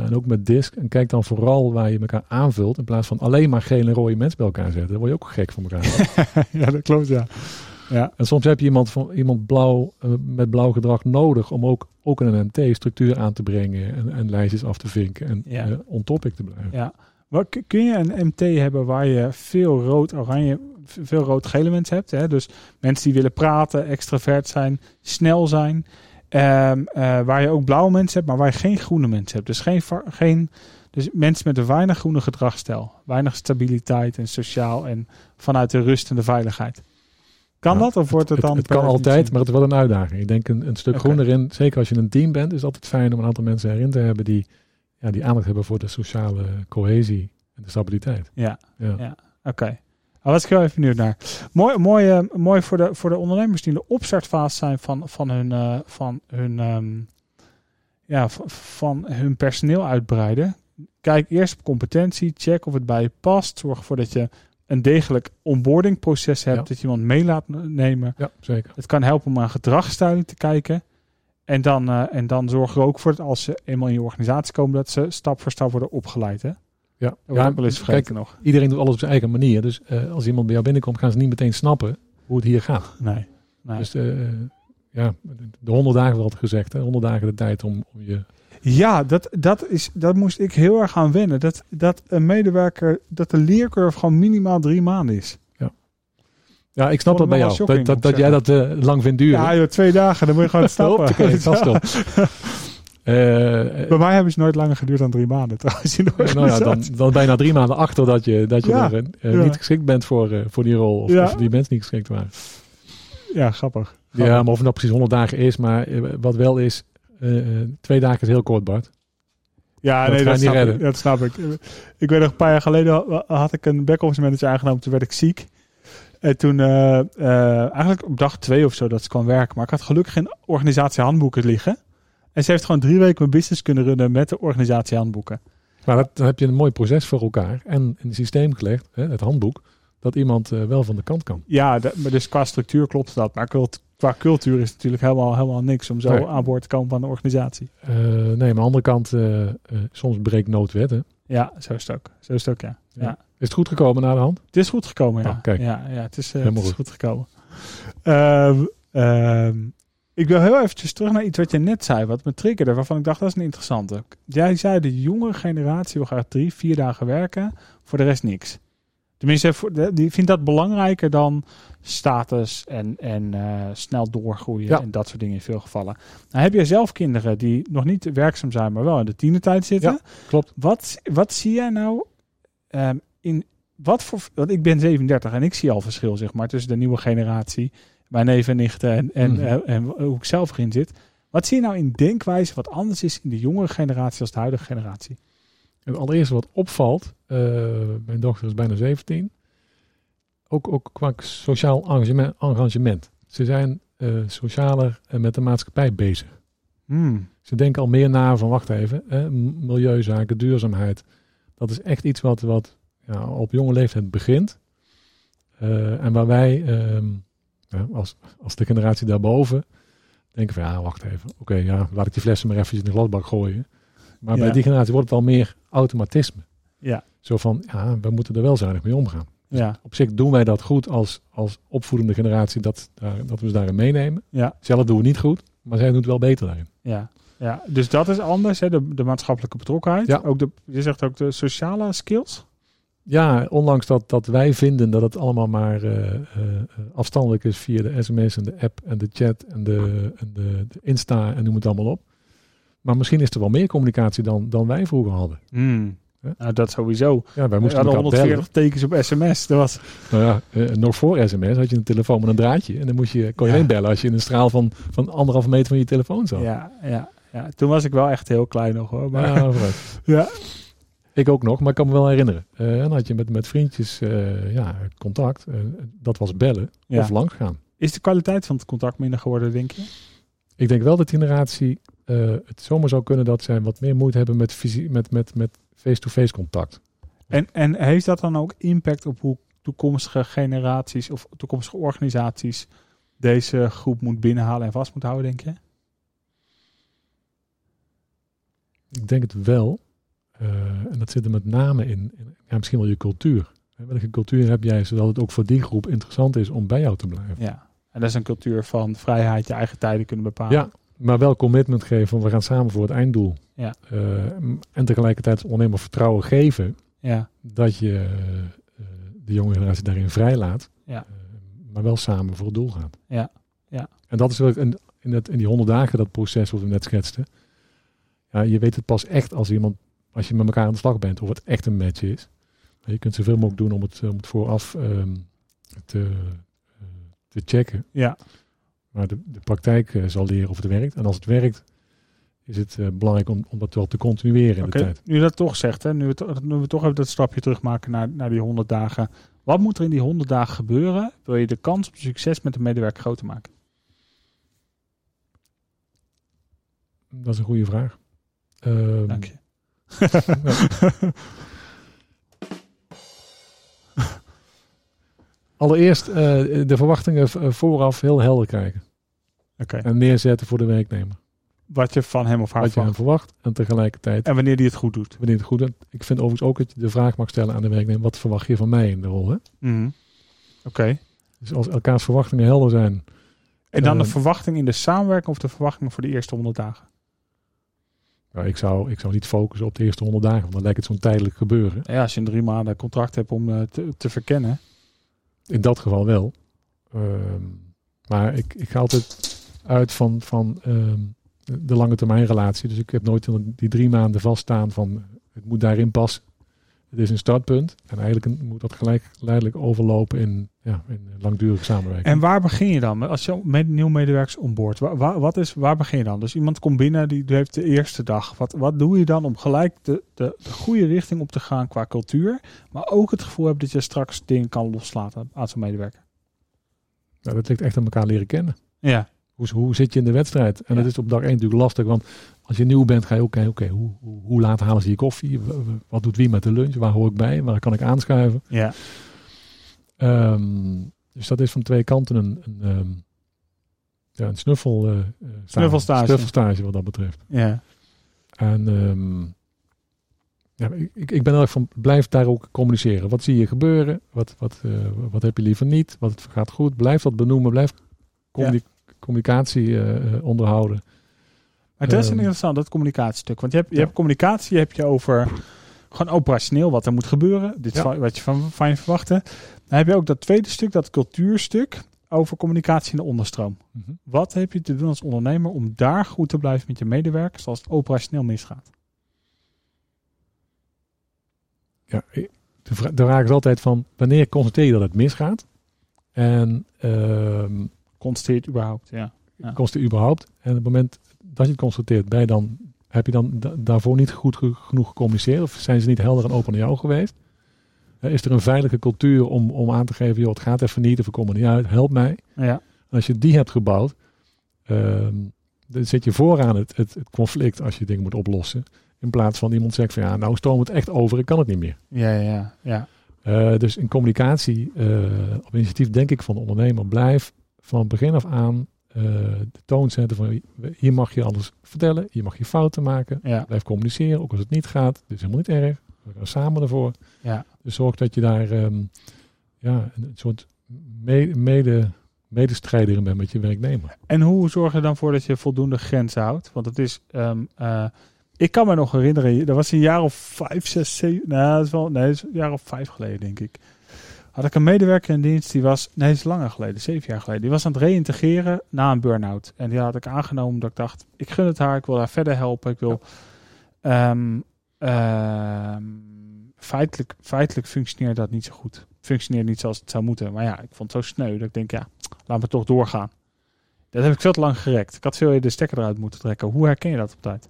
S3: en ook met disc. En kijk dan vooral waar je elkaar aanvult. In plaats van alleen maar gele en rode mensen bij elkaar zetten. Dan word je ook gek van elkaar.
S1: ja, dat klopt, ja.
S3: en soms heb je iemand, van, iemand blauw, eh, met blauw gedrag nodig. Om ook, ook in een MT structuur aan te brengen. En, en lijstjes af te vinken. En
S1: Ja.
S3: eh, on topic te blijven.
S1: Wat- k- kun je een MT hebben waar je veel rood-oranje, v- veel rood-gele mensen hebt? Hè? Dus mensen die willen praten, extravert zijn, snel zijn. Ehm, eh, waar je ook blauwe mensen hebt, maar waar je geen groene mensen hebt. Dus, geen, va- geen, dus mensen met een weinig groene gedragsstijl. Weinig stabiliteit en sociaal en vanuit de rust en de veiligheid. Kan
S3: Ja,
S1: dat of wordt het,
S3: Het,
S1: dan...
S3: het kan
S1: per
S3: altijd,
S1: definitie-
S3: maar het is wel een uitdaging. Ik denk een, een stuk
S1: Oké.
S3: groener in, zeker als je een team bent, is het altijd fijn om een aantal mensen erin te hebben die, ja, die aandacht hebben voor de sociale cohesie en de stabiliteit.
S1: Ja.
S3: Ja.
S1: Ja. Oké. Daar was ik heel even benieuwd naar. Mooi, mooi, eh, mooi voor, de, voor de ondernemers die in de opstartfase zijn van, van hun, eh, van hun, ehm, ja, v- van hun personeel uitbreiden. Kijk eerst op competentie, check of het bij je past. Zorg ervoor dat je een degelijk onboardingproces hebt,
S3: Ja.
S1: dat je iemand mee laat nemen.
S3: Ja, zeker.
S1: Het kan helpen om aan gedragsstijlen te kijken. En dan, eh, en dan zorg er ook voor dat als ze eenmaal in je organisatie komen, dat ze stap voor stap worden opgeleid. Hè?
S3: Ja.
S1: Dat wordt
S3: Ja,
S1: ook wel eens
S3: kijk,
S1: vergeten nog.
S3: iedereen doet alles op zijn eigen manier. Dus eh, als iemand bij jou binnenkomt, gaan ze niet meteen snappen hoe het hier gaat.
S1: Nee. Nee.
S3: Dus eh, ja, de honderd dagen wordt gezegd. Hè? 100 dagen de tijd om, om je...
S1: Ja, dat, dat, is, dat moest ik heel erg aan wennen. Dat, dat een medewerker, dat de leercurve gewoon minimaal drie maanden is.
S3: Ja, ik snap
S1: Vond
S3: dat bij
S1: het
S3: jou.
S1: wel
S3: Dat,
S1: shocking,
S3: dat,
S1: moet
S3: dat
S1: ik
S3: jij dat eh, lang vindt duren.
S1: Ja, joh, twee dagen, dan moet je gewoon stappen.
S3: Hoppakee, vast op. Eh,
S1: Bij mij hebben ze nooit langer geduurd dan drie maanden trouwens. In de
S3: Nou ja, dan,
S1: organisatie.
S3: dan bijna drie maanden achter dat je, dat je
S1: Ja,
S3: er, eh,
S1: ja.
S3: niet geschikt bent voor, eh, voor die rol. Of,
S1: Ja.
S3: of die mensen niet geschikt waren.
S1: Ja, grappig.
S3: Ja, maar of het nou precies 100 dagen is. Maar eh, wat wel is, eh, eh, twee dagen is heel kort, Bart.
S1: Ja,
S3: Dat
S1: nee,
S3: ga
S1: dat
S3: je
S1: snap,
S3: niet
S1: ik,
S3: redden.
S1: dat snap ik. Ik weet nog, een paar jaar geleden ha- had ik een back-office manager aangenomen. Toen werd ik ziek. En toen, eh, eh, eigenlijk op dag twee of zo dat ze kwam werken. Maar ik had gelukkig geen organisatiehandboeken liggen. En ze heeft gewoon drie weken mijn business kunnen runnen met de organisatiehandboeken.
S3: Maar dat, dan heb je een mooi proces voor elkaar. En in het systeem gelegd, hè, het handboek, dat iemand eh, wel van de kant kan.
S1: Ja, dat- maar dus qua structuur klopt dat. Maar cult- qua cultuur is het natuurlijk helemaal, helemaal niks om zo
S3: Nee.
S1: aan boord te komen van de organisatie.
S3: Eh, nee, maar aan de andere kant, eh, eh, soms breekt noodwet. Hè.
S1: Ja, zo is het ook. Zo is het ook, ja.
S3: Is het goed gekomen naar de hand?
S1: Het is goed gekomen, ja.
S3: Ah, kijk.
S1: Ja, ja het, is, eh, het
S3: Helemaal
S1: is goed gekomen. Ehm, ehm, ik wil heel eventjes terug naar iets wat je net zei, wat me triggerde, waarvan ik dacht dat is een interessante. Jij zei de jongere generatie wil graag drie, vier dagen werken, voor de rest niks. Tenminste, voor de- die vindt dat belangrijker dan status en, en eh, snel doorgroeien
S3: Ja.
S1: en dat soort dingen in veel gevallen. Nou, heb jij zelf kinderen die nog niet werkzaam zijn, maar wel in de tienertijd zitten?
S3: Ja, klopt.
S1: Wat, wat zie jij nou ehm, in wat voor. Want ik ben 37 en ik zie al verschil, zeg maar, tussen de nieuwe generatie, mijn neven en nichten en, en,
S3: Mhm.
S1: eh, en hoe ik zelf erin zit. Wat zie je nou in denkwijze wat anders is in de jongere generatie als de huidige generatie?
S3: Het allereerste wat opvalt, eh, mijn dochter is bijna 17, ook, ook qua sociaal engagement. engagement. Ze zijn eh, socialer en met de maatschappij bezig. Ze denken al meer na van, wacht even, eh, m- milieuzaken, duurzaamheid. Dat is echt iets wat, wat ja, op jonge leeftijd begint. Eh, en waar wij ehm, ja, als, als de generatie daarboven denken van, ja, wacht even. Oké, ja, laat ik die flessen maar eventjes in de glasbak gooien. Maar bij
S1: Ja.
S3: die generatie wordt het al meer automatisme.
S1: Ja.
S3: Zo van, ja, we moeten er wel zuinig mee omgaan.
S1: Ja,
S3: Op zich doen wij dat goed als, als opvoedende generatie, dat, daar- dat we ze daarin meenemen.
S1: Ja.
S3: Zelf doen we het niet goed, maar zij doen het wel beter daarin.
S1: ja, ja. Dus dat is anders, hè? De, de maatschappelijke betrokkenheid.
S3: Ja.
S1: Ook de, je zegt ook de sociale skills.
S3: Ja, ondanks dat, dat wij vinden dat het allemaal maar eh, eh, eh, afstandelijk is via de sms en de app en de chat en de, en de, de Insta en noem het allemaal op. Maar misschien is er wel meer communicatie dan, dan wij vroeger hadden.
S1: Nou, dat sowieso.
S3: Ja, wij
S1: We
S3: moesten
S1: hadden
S3: elkaar bellen.
S1: 140 tekens op sms. Dat was,
S3: Nou ja, eh, nog voor sms had je een telefoon met een draadje. En dan moest je, kon je
S1: Ja.
S3: alleen bellen als je in een straal van, van anderhalve meter van je telefoon zat.
S1: ja, ja, ja, toen was ik wel echt heel klein nog hoor. Maar,
S3: Ja, vooruit.
S1: Ja.
S3: Ik ook nog, maar ik kan me wel herinneren. Eh, en dan had je met, met vriendjes eh, ja, contact. Eh, dat was bellen
S1: Ja.
S3: of langsgaan.
S1: Is de kwaliteit van het contact minder geworden, denk je?
S3: Ik denk wel dat die generatie eh, het zomaar zou kunnen dat zij wat meer moeite hebben met fysie- met met, met face-to-face contact.
S1: En, en heeft dat dan ook impact op hoe toekomstige generaties of toekomstige organisaties deze groep moet binnenhalen en vast moet houden, denk je?
S3: Ik denk het wel. Eh, en dat zit er met name in, in- ja, misschien wel je cultuur. Hè, Welke cultuur heb jij, zodat het ook voor die groep interessant is om bij jou te blijven?
S1: Ja. En dat is een cultuur van vrijheid, je eigen tijden kunnen bepalen.
S3: Ja, maar wel commitment geven, van we gaan samen voor het einddoel.
S1: Ja.
S3: Eh, en tegelijkertijd als ondernemer vertrouwen geven
S1: ja.
S3: dat je eh, de jonge generatie daarin vrijlaat,
S1: Ja.
S3: Eh, maar wel samen voor het doel gaat.
S1: Ja, ja.
S3: En dat is wel in, in, het, in die honderd dagen, dat proces wat we net schetsten. Ja, je weet het pas echt als iemand, als je met elkaar aan de slag bent, of het echt een match is. Maar Je kunt zoveel mogelijk doen om het, om het vooraf ehm, te, eh, te checken.
S1: Ja.
S3: Maar de, de praktijk eh, zal leren of het werkt. En als het werkt, is het eh, belangrijk om, om dat wel te continueren in
S1: Oké,
S3: de tijd.
S1: nu je dat toch zegt, hè, nu, we to- nu we toch even dat stapje terugmaken naar, naar die 100 dagen. Wat moet er in die 100 dagen gebeuren? Wil je de kans op succes met de medewerker groter maken?
S3: Dat is een goede vraag. Ehm,
S1: Dank je.
S3: Allereerst eh, de verwachtingen v- eh, vooraf heel helder krijgen.
S1: Oké.
S3: En neerzetten voor de werknemer.
S1: Wat je van hem of haar
S3: Wat je aan
S1: verwacht.
S3: verwacht. En tegelijkertijd,
S1: En wanneer die het goed doet.
S3: wanneer het goed is. Ik vind overigens ook dat je de vraag mag stellen aan de werknemer. Wat verwacht je van mij in de rol? Hè?
S1: Mhm. Oké.
S3: Dus als elkaars verwachtingen helder zijn.
S1: En dan de
S3: Ehm.
S1: verwachting in de samenwerking of de verwachting voor de eerste 100 dagen?
S3: Nou, ik, zou, ik zou niet focussen op de eerste 100 dagen. Want dan lijkt het zo'n tijdelijk gebeuren.
S1: Ja, als je een drie maanden contract hebt om eh, te, te verkennen.
S3: In dat geval wel. Ehm, maar ik, ik ga altijd uit van, van ehm, de lange termijn relatie. Dus ik heb nooit die drie maanden vaststaan van het moet daarin passen. Het is een startpunt. En eigenlijk een- moet dat gelijk geleidelijk overlopen in, ja, in langdurige samenwerking.
S1: En waar begin je dan? Als je met nieuw medewerkers onboord, wa- wa- wat is, waar begin je dan? Dus iemand komt binnen, die heeft de eerste dag. Wat, wat doe je dan om gelijk de, de, de goede richting op te gaan qua cultuur, maar ook het gevoel hebt dat je straks dingen kan loslaten aan zo'n medewerker?
S3: Nou, dat ligt echt aan elkaar leren kennen.
S1: Ja,
S3: Hoe, hoe zit je in de wedstrijd? En
S1: Ja.
S3: dat is op dag 1 natuurlijk lastig. Want als je nieuw bent, ga je ook kijken, oké, hoe, hoe, hoe laat halen ze je koffie? W- w- Wat doet wie met de lunch? Waar hoor ik bij? Waar kan ik aanschuiven?
S1: ja,
S3: Ehm, dus dat is van twee kanten een, een, ehm, ja, een snuffel, eh, eh, stage.
S1: Snuffelstage.
S3: Snuffelstage wat dat betreft.
S1: ja.
S3: En ehm, ja, ik, ik ben heel erg van, blijf daar ook communiceren. Wat zie je gebeuren? Wat, wat, eh, wat heb je liever niet? Wat gaat goed? Blijf dat benoemen. Blijf communi- communicatie eh, eh, onderhouden.
S1: Maar dat is een
S3: Ehm.
S1: interessant, dat communicatiestuk. Want je hebt, je
S3: Ja.
S1: hebt communicatie heb je over gewoon operationeel wat er moet gebeuren. Dit is
S3: Ja.
S1: wa- wat je van, van je verwachtte. Dan heb je ook dat tweede stuk, dat cultuurstuk over communicatie in de onderstroom. Wat heb je te doen als ondernemer om daar goed te blijven met je medewerkers als het operationeel misgaat?
S3: Ja, ik- de, vra- de vraag is altijd van wanneer constateer je dat het misgaat? En ehm,
S1: Constateert überhaupt, ja. Ja.
S3: kosten überhaupt. En op het moment dat je het constateert, ben je dan, heb je dan da- daarvoor niet goed ge- genoeg gecommuniceerd? Of zijn ze niet helder en open naar jou geweest? Eh, Is er een veilige cultuur om, om aan te geven, joh, het gaat even niet of we komen er niet uit, help mij.
S1: Ja,
S3: En als je die hebt gebouwd, ehm, dan zit je vooraan het, het, het conflict als je dingen moet oplossen. In plaats van iemand zegt van ja, nou stroomt het echt over, ik kan het niet meer.
S1: ja, ja. ja.
S3: Eh, dus in communicatie, eh, op initiatief denk ik van de ondernemer, blijf van begin af aan eh, de toon zetten van hier mag je alles vertellen, hier mag je fouten maken.
S1: ja.
S3: Blijf communiceren, ook als het niet gaat. Dit is helemaal niet erg. We gaan samen ervoor.
S1: Ja.
S3: Dus zorg dat je daar ehm, ja, een soort me- mede, medestrijder in bent met je werknemer.
S1: En hoe zorg je er dan voor dat je voldoende grenzen houdt? Want het is. ehm, eh, ik kan me nog herinneren, er was een jaar of vijf, zes, zeven. Nou, dat is wel, nee, dat is een jaar of vijf geleden, denk ik. Had ik een medewerker in dienst die was. Nee, dat is langer geleden, zeven jaar geleden. Die was aan het reïntegreren na een burn-out. En die had ik aangenomen omdat ik dacht: ik gun het haar, ik wil haar verder helpen. Ik wil. ehm, ehm, feitelijk, feitelijk functioneert dat niet zo goed. Functioneert niet zoals het zou moeten. Maar ja, ik vond het zo sneu dat ik denk, ja, laat me toch doorgaan. Dat heb ik veel te lang gerekt. Ik had veel eerder de stekker eruit moeten trekken. Hoe herken je dat op tijd?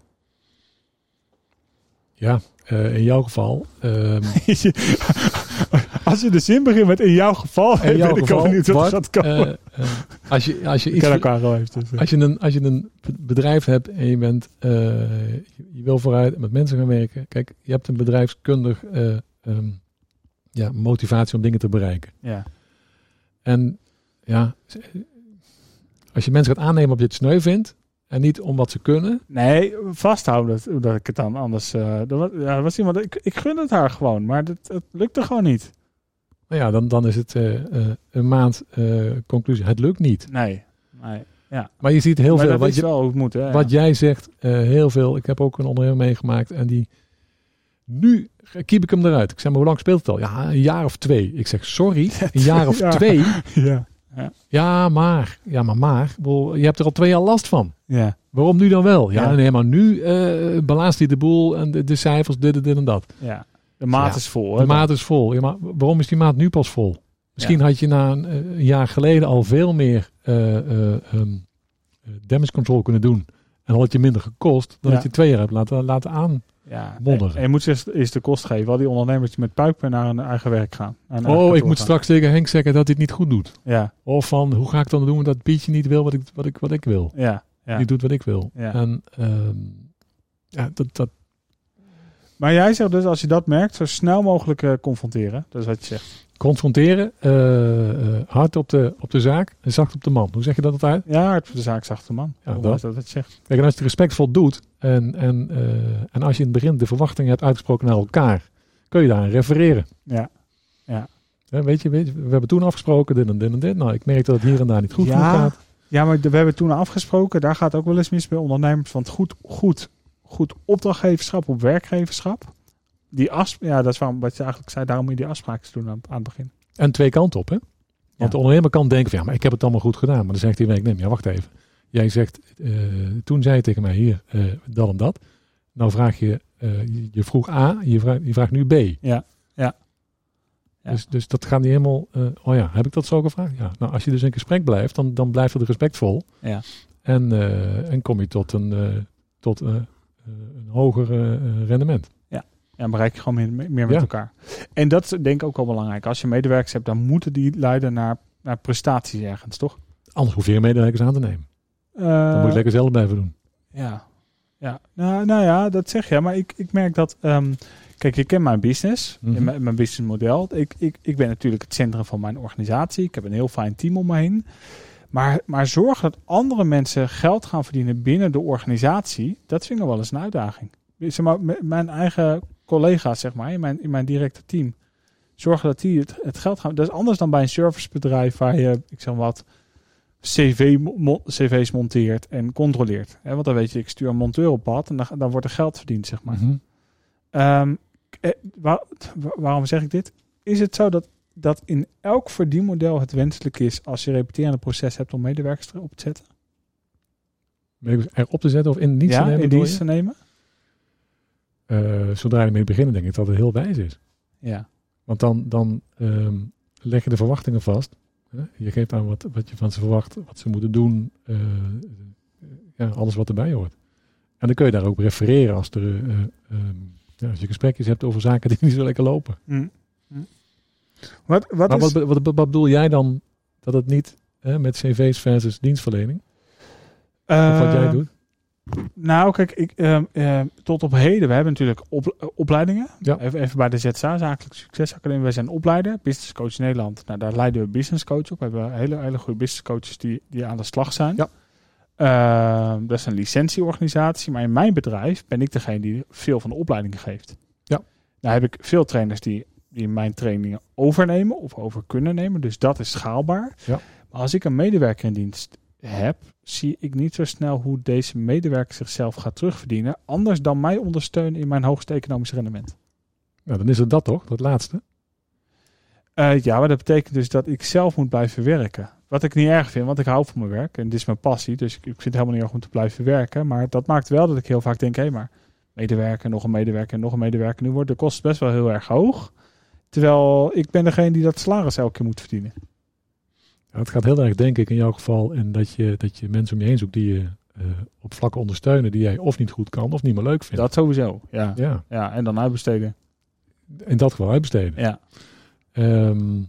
S3: Ja, eh, in jouw geval. ehm,
S1: Als je de zin begint met in jouw geval,
S3: in jouw
S1: weet ik
S3: geval.
S1: ook niet
S3: Bart,
S1: of dat kan.
S3: eh, eh, als je, als je
S1: ik
S3: iets.
S1: ken elkaar al even. dus, eh.
S3: Als je, een, als je een b- bedrijf hebt en je, bent, eh, je- je wil vooruit en met mensen gaan werken. Kijk, je hebt een bedrijfskundig eh, ehm, ja, motivatie om dingen te bereiken.
S1: ja.
S3: En ja, z- als je mensen gaat aannemen op je het sneu vindt en niet om wat ze kunnen.
S1: Nee, vasthouden dat, dat ik het dan anders... eh dat was, ja, dat was iemand, ik, ik gun het haar gewoon, maar dat, het lukte gewoon niet.
S3: Nou ja, dan, dan is het eh, eh, een maand eh, conclusie. Het lukt niet.
S1: Nee, nee.
S3: Maar je ziet heel
S1: maar
S3: veel.
S1: dat
S3: Wat,
S1: is
S3: je,
S1: wel hoe het moet. Hè?
S3: wat jij zegt, eh, heel veel. Ik heb ook een ondernemer meegemaakt en die. Nu kiep ik hem eruit. Ik zeg maar, hoe lang speelt het al? Ja, een jaar of twee. Ik zeg, sorry, een jaar of
S1: Ja.
S3: twee?
S1: ja.
S3: Ja, maar. Ja, maar maar. Ik bedoel, Je hebt er al twee jaar last van.
S1: Ja.
S3: Waarom nu dan wel? Ja,
S1: Ja.
S3: nee, maar nu eh belaast hij de boel en de, de cijfers, dit, dit, dit en dat.
S1: ja. De maat
S3: Ja.
S1: is vol. Hè?
S3: De maat is vol. Ja, maar waarom is die maat nu pas vol? Misschien had je na een, eh, een jaar geleden al veel meer eh, eh, ehm, eh, damage control kunnen doen. En had het je minder gekost dan
S1: Ja.
S3: dat je twee jaar hebt laten, laten aan.
S1: ja.
S3: modder.
S1: En je moet ze eerst- eerst de kost geven. Al die ondernemers die met puikpen naar hun eigen werk gaan. Naar hun eigen
S3: oh, ik
S1: kantoor
S3: moet
S1: gaan.
S3: straks tegen Henk zeggen dat hij het niet goed doet.
S1: Ja,
S3: Of van, hoe ga ik dan doen dat Pietje niet wil wat ik, wat ik, wat ik wil.
S1: ja, ja.
S3: Die doet wat ik wil.
S1: Ja.
S3: En ehm, ja, dat, dat,
S1: Maar jij zegt dus, als je dat merkt, zo snel mogelijk eh, confronteren. Dat is wat je zegt.
S3: confronteren, eh, eh, hard op de, op de zaak en zacht op de man. Hoe zeg je dat altijd?
S1: Ja, hard voor de zaak zachte man.
S3: Ja,
S1: Hoe
S3: dat.
S1: is dat wat je zegt.
S3: Kijk, en als je het respectvol doet en, en, eh, en als je in het begin de verwachtingen hebt uitgesproken naar elkaar, kun je daaraan refereren.
S1: Ja. Ja.
S3: Hè, weet, je, weet je, we hebben toen afgesproken dit en dit en dit. Nou, ik merk dat het hier en daar niet goed genoeg
S1: ja,
S3: gaat.
S1: ja, maar we hebben toen afgesproken, daar gaat ook wel eens mis bij ondernemers. Want goed, goed, goed opdrachtgeverschap op werkgeverschap. Die afsp- ja, dat is waarom, wat je eigenlijk zei, daarom moet je die afspraken doen aan, aan het begin.
S3: En twee kanten op, hè? Want
S1: Ja.
S3: de ondernemer kan denken van, ja, maar ik heb het allemaal goed gedaan. Maar dan zegt die werknemer, ja, wacht even. Jij zegt, eh, toen zei je tegen mij hier eh, dat en dat. Nou vraag je, eh, je- je vroeg A, je vraagt, je vraagt nu B.
S1: Ja, ja. Ja.
S3: Dus, dus dat gaat niet helemaal, eh, oh ja, heb ik dat zo gevraagd? Ja. Nou, als je dus in gesprek blijft, dan, dan blijft het respectvol.
S1: Ja.
S3: En, eh, en kom je tot een, eh, tot, eh, eh, een hoger eh, eh, rendement.
S1: Ja, bereik je gewoon meer, meer met
S3: Ja.
S1: elkaar. En dat is denk ik ook wel belangrijk. Als je medewerkers hebt, dan moeten die leiden naar, naar prestaties ergens, toch?
S3: Anders hoef je geen medewerkers aan te nemen. Dan moet je
S1: Eh,
S3: lekker zelf blijven doen.
S1: Ja. ja. Nou, nou ja, dat zeg je. Maar ik, ik merk dat... ehm, kijk, ik ken mijn business.
S3: Mhm.
S1: en mijn, mijn businessmodel. Ik, ik, ik ben natuurlijk het centrum van mijn organisatie. Ik heb een heel fijn team om me heen. Maar, maar zorg dat andere mensen geld gaan verdienen binnen de organisatie. Dat vind ik wel eens een uitdaging. Zeg maar, m- mijn eigen collega's, zeg maar, in mijn, in mijn directe team. Zorgen dat die het, het geld gaan... Dat is anders dan bij een servicebedrijf waar je, ik zeg maar wat... CV, mo- cv's monteert en controleert. Hè, want dan weet je, ik stuur een monteur op pad en dan, dan wordt er geld verdiend, zeg maar.
S3: Mhm.
S1: Ehm, eh, wa- wa- waarom zeg ik dit? Is het zo dat, dat in elk verdienmodel het wenselijk is als je repeterende proces hebt om medewerkers erop te zetten?
S3: Medewerkers erop te zetten of in dienst te
S1: ja,
S3: nemen?
S1: in
S3: bedoel
S1: dienst te
S3: je?
S1: nemen?
S3: Eh, zodra je ermee beginnen, denk ik dat het heel wijs is.
S1: Ja.
S3: Want dan, dan ehm, leg je de verwachtingen vast. Hè? Je geeft aan wat, wat je van ze verwacht, wat ze moeten doen. eh, ja, alles wat erbij hoort. En dan kun je daar ook refereren als, er, eh, ehm, ja, als je gesprekjes hebt over zaken die niet zo lekker lopen.
S1: Hm. Hm. Wat, wat
S3: maar
S1: is...
S3: wat, wat, wat, wat bedoel jij dan dat het niet hè, met cv's versus dienstverlening? Of wat jij
S1: Ehm,
S3: doet?
S1: Nou, kijk, ik, ehm, ehm, tot op heden, we hebben natuurlijk op, eh, opleidingen.
S3: Ja.
S1: Even, even bij de ZSA, Zakelijk Succesacademie. Wij zijn opleider, business coach Nederland. Nou, daar leiden we business coach op. We hebben hele, hele goede business coaches die, die aan de slag zijn.
S3: Ja.
S1: Ehm, dat is een licentieorganisatie. Maar in mijn bedrijf ben ik degene die veel van de opleidingen geeft.
S3: Ja.
S1: Nou heb ik veel trainers die, die mijn trainingen overnemen of over kunnen nemen. Dus dat is schaalbaar.
S3: Ja.
S1: Maar als ik een medewerker in dienst heb, zie ik niet zo snel hoe deze medewerker zichzelf gaat terugverdienen. Anders dan mij ondersteunen in mijn hoogste economisch rendement.
S3: Nou, dan is het dat toch, dat laatste.
S1: Eh, ja, maar dat betekent dus dat ik zelf moet blijven werken. Wat ik niet erg vind, want ik hou van mijn werk. En dit is mijn passie, dus ik, ik vind het helemaal niet erg om te blijven werken. Maar dat maakt wel dat ik heel vaak denk, hé, maar medewerker, nog een medewerker, nog een medewerker. Nu wordt de kost best wel heel erg hoog. Terwijl ik ben degene die dat salaris elke keer moet verdienen.
S3: Ja, het gaat heel erg, denk ik, in jouw geval in dat je, dat je mensen om je heen zoekt die je eh, op vlakken ondersteunen die jij of niet goed kan of niet meer leuk vindt.
S1: Dat sowieso, ja.
S3: Ja,
S1: Ja, en dan uitbesteden.
S3: in dat geval uitbesteden.
S1: Ja.
S3: Ehm,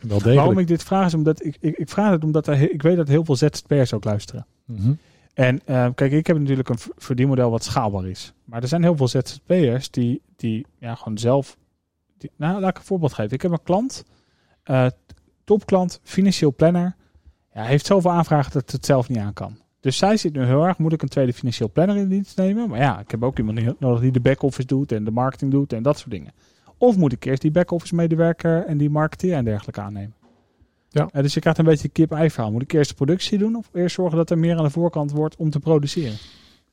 S3: wel degelijk.
S1: Waarom ik dit vraag is omdat ik, ik, ik vraag het omdat er, he- ik weet dat heel veel ZZP'ers ook luisteren.
S3: Mhm.
S1: En eh, kijk, ik heb natuurlijk een v- verdienmodel wat schaalbaar is. Maar er zijn heel veel ZZP'ers die, die ja, gewoon zelf. Die, nou, laat ik een voorbeeld geven. Ik heb een klant, eh, topklant, financieel planner. Ja, hij heeft zoveel aanvragen dat het het zelf niet aan kan. Dus zij zit nu heel erg, moet ik een tweede financieel planner in dienst nemen? Maar ja, ik heb ook iemand heel- nodig die de back-office doet en de marketing doet en dat soort dingen. Of moet ik eerst die back-office medewerker en die marketeer en dergelijke aannemen?
S3: Ja.
S1: Eh, dus je krijgt een beetje kip-ei verhaal. Moet ik eerst de productie doen of eerst zorgen dat er meer aan de voorkant wordt om te produceren?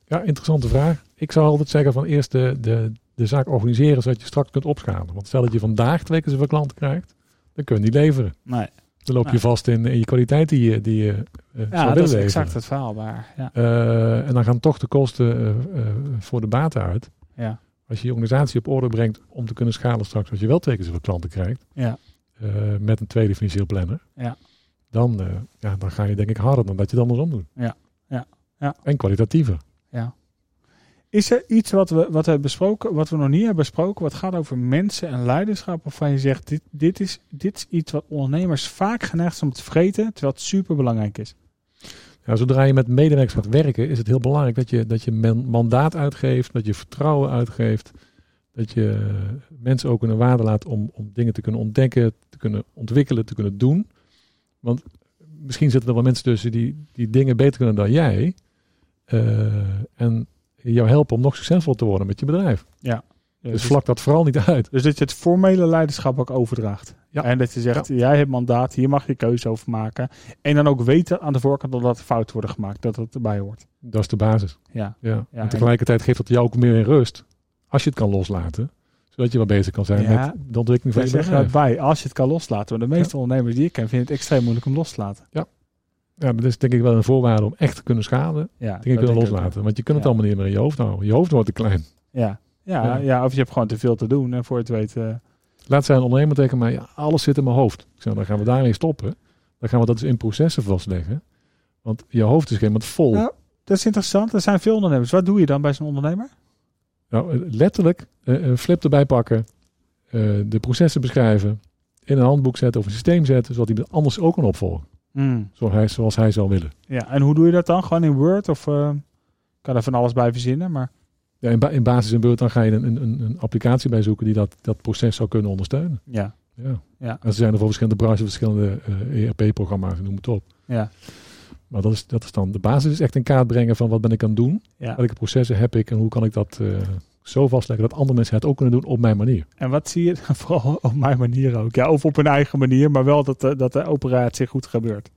S3: Ja, interessante vraag. Ik zou altijd zeggen van eerst de, de, de zaak organiseren zodat je straks kunt opschalen. Want stel dat je vandaag twee keer zoveel klanten krijgt, dan kun je niet leveren.
S1: Nee.
S3: Dan loop je
S1: Nee.
S3: vast in, in je kwaliteit die je, die je eh, zou
S1: Ja,
S3: willen
S1: dat is
S3: leveren.
S1: exact het verhaal daar. Ja.
S3: Eh, en dan gaan toch de kosten eh, eh, voor de baten uit.
S1: Ja.
S3: Als je je organisatie op orde brengt om te kunnen schalen straks, als je wel tekens voor klanten krijgt,
S1: Ja.
S3: eh, met een tweede financieel planner,
S1: Ja.
S3: Dan, eh, ja, dan ga je denk ik harder dan dat je het andersom doet.
S1: Ja. Ja. Ja.
S3: En kwalitatiever.
S1: Is er iets wat we, wat, we besproken, wat we nog niet hebben besproken, wat gaat over mensen en leiderschap, waarvan je zegt, dit, dit, is, dit is iets wat ondernemers vaak geneigd zijn om te vergeten, terwijl het superbelangrijk is.
S3: Ja, Nou, zodra je met medewerkers gaat werken, is het heel belangrijk dat je, dat je men- mandaat uitgeeft, dat je vertrouwen uitgeeft, dat je eh, mensen ook in hun waarde laat om, om dingen te kunnen ontdekken, te kunnen ontwikkelen, te kunnen doen. Want misschien zitten er wel mensen tussen die, die dingen beter kunnen dan jij eh, en jou helpen om nog succesvol te worden met je bedrijf.
S1: Ja,
S3: Dus vlak dat vooral niet uit.
S1: dus dat je het formele leiderschap ook overdraagt.
S3: Ja.
S1: En dat je zegt, jij hebt mandaat, hier mag je keuze over maken. En dan ook weten aan de voorkant dat dat fouten worden gemaakt, dat dat erbij hoort.
S3: Dat is de basis.
S1: Ja.
S3: Ja.
S1: Ja,
S3: en tegelijkertijd geeft dat jou ook meer in rust als je het kan loslaten, zodat je wel bezig kan zijn
S1: Ja.
S3: met de ontwikkeling
S1: Wij
S3: van je
S1: zeggen
S3: bedrijf.
S1: daarbij, als je het kan loslaten. Want de meeste ondernemers die ik ken, vinden het extreem moeilijk om los te laten.
S3: Ja, maar dat is denk ik wel een voorwaarde om echt te kunnen schaden.
S1: Ja, dat
S3: Dat denk ik wel
S1: denk ik ook.
S3: loslaten. Want je kunt het
S1: Ja.
S3: allemaal niet meer in je hoofd houden. Je hoofd wordt te klein.
S1: Ja. Ja, ja.
S3: Ja.
S1: of je hebt gewoon te veel te doen. En voor je het weet... eh,
S3: Laat zei een ondernemer tegen mij, ja, alles zit in mijn hoofd. Ik zei, dan gaan we daarmee stoppen. Dan gaan we dat dus in processen vastleggen. Want je hoofd is helemaal vol.
S1: Ja. dat is interessant. Er zijn veel ondernemers. Wat doe je dan bij zo'n ondernemer?
S3: Nou, eh, letterlijk eh, een flip erbij pakken. eh, de processen beschrijven. In een handboek zetten of een systeem zetten. Zodat iemand anders ook kan opvolgen.
S1: Hmm.
S3: Zoals hij, zoals hij zou willen.
S1: Ja, en hoe doe je dat dan? Gewoon in Word? Of eh, ik kan er van alles bij verzinnen, maar...
S3: Ja, in, ba- in basis en beurt dan ga je een, een- een, een applicatie bij zoeken die dat, dat proces zou kunnen ondersteunen.
S1: Ja.
S3: Ja.
S1: Ja.
S3: En er zijn er voor verschillende branches, verschillende eh, ERP-programma's, noem het op.
S1: Ja.
S3: Maar dat is, dat is dan de basis, is echt in kaart brengen van wat ben ik aan het doen,
S1: ja.
S3: welke processen heb ik en hoe kan ik dat eh, zo vastleggen dat andere mensen het ook kunnen doen op mijn manier.
S1: En wat zie je? Vooral op mijn manier ook. Ja, of op hun eigen manier. Maar wel dat de, dat de operatie goed gebeurt.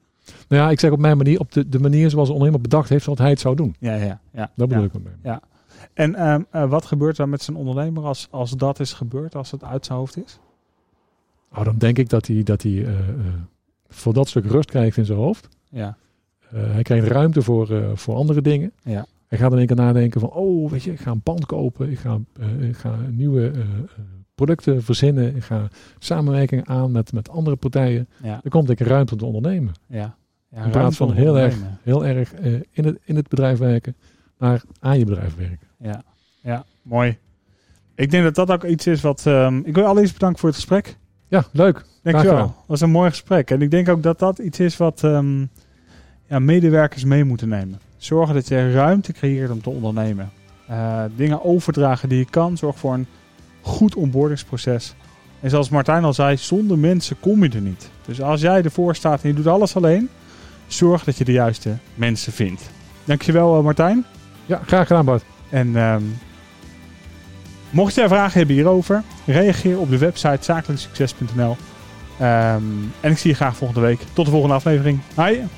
S3: Nou ja, ik zeg op mijn manier, op de, de manier zoals een ondernemer bedacht heeft wat hij het zou doen.
S1: Ja, ja, ja.
S3: Dat bedoel
S1: Ja.
S3: ik met mij.
S1: En ehm, eh, wat gebeurt er met zo'n ondernemer als, als dat is gebeurd? Als het uit zijn hoofd is?
S3: Nou, dan denk ik dat hij, dat hij eh, eh, voor dat stuk rust krijgt in zijn hoofd.
S1: Ja.
S3: Eh, hij krijgt ruimte voor, eh, voor andere dingen.
S1: Ja.
S3: Hij gaat in één keer nadenken van, oh, weet je, ik ga een pand kopen, ik ga, eh, ik ga nieuwe eh, eh, producten verzinnen, ik ga samenwerking aan met, met andere partijen.
S1: Ja.
S3: Er komt denk ik ruimte om te ondernemen.
S1: Ja. ja
S3: In
S1: ruimte
S3: plaats van
S1: om
S3: heel erg,
S1: ondernemen.
S3: heel erg eh, in, het, in het bedrijf werken, naar aan je bedrijf werken.
S1: Ja. ja, mooi. Ik denk dat dat ook iets is wat... ehm, ik wil je allereerst bedanken voor het gesprek.
S3: Ja, leuk.
S1: Dankjewel.
S3: gedaan.
S1: Dat was een mooi gesprek. En ik denk ook dat dat iets is wat ehm, ja, medewerkers mee moeten nemen. Zorgen dat je ruimte creëert om te ondernemen. Eh, dingen overdragen die je kan. Zorg voor een goed onboardingsproces. En zoals Martijn al zei, zonder mensen kom je er niet. Dus als jij ervoor staat en je doet alles alleen, zorg dat je de juiste mensen vindt. Dankjewel eh, Martijn.
S3: Ja, graag gedaan Bart.
S1: En ehm, mocht jij vragen hebben hierover, reageer op de website zakelijksucces.nl. Ehm, en ik zie je graag volgende week. Tot de volgende aflevering. Hoi!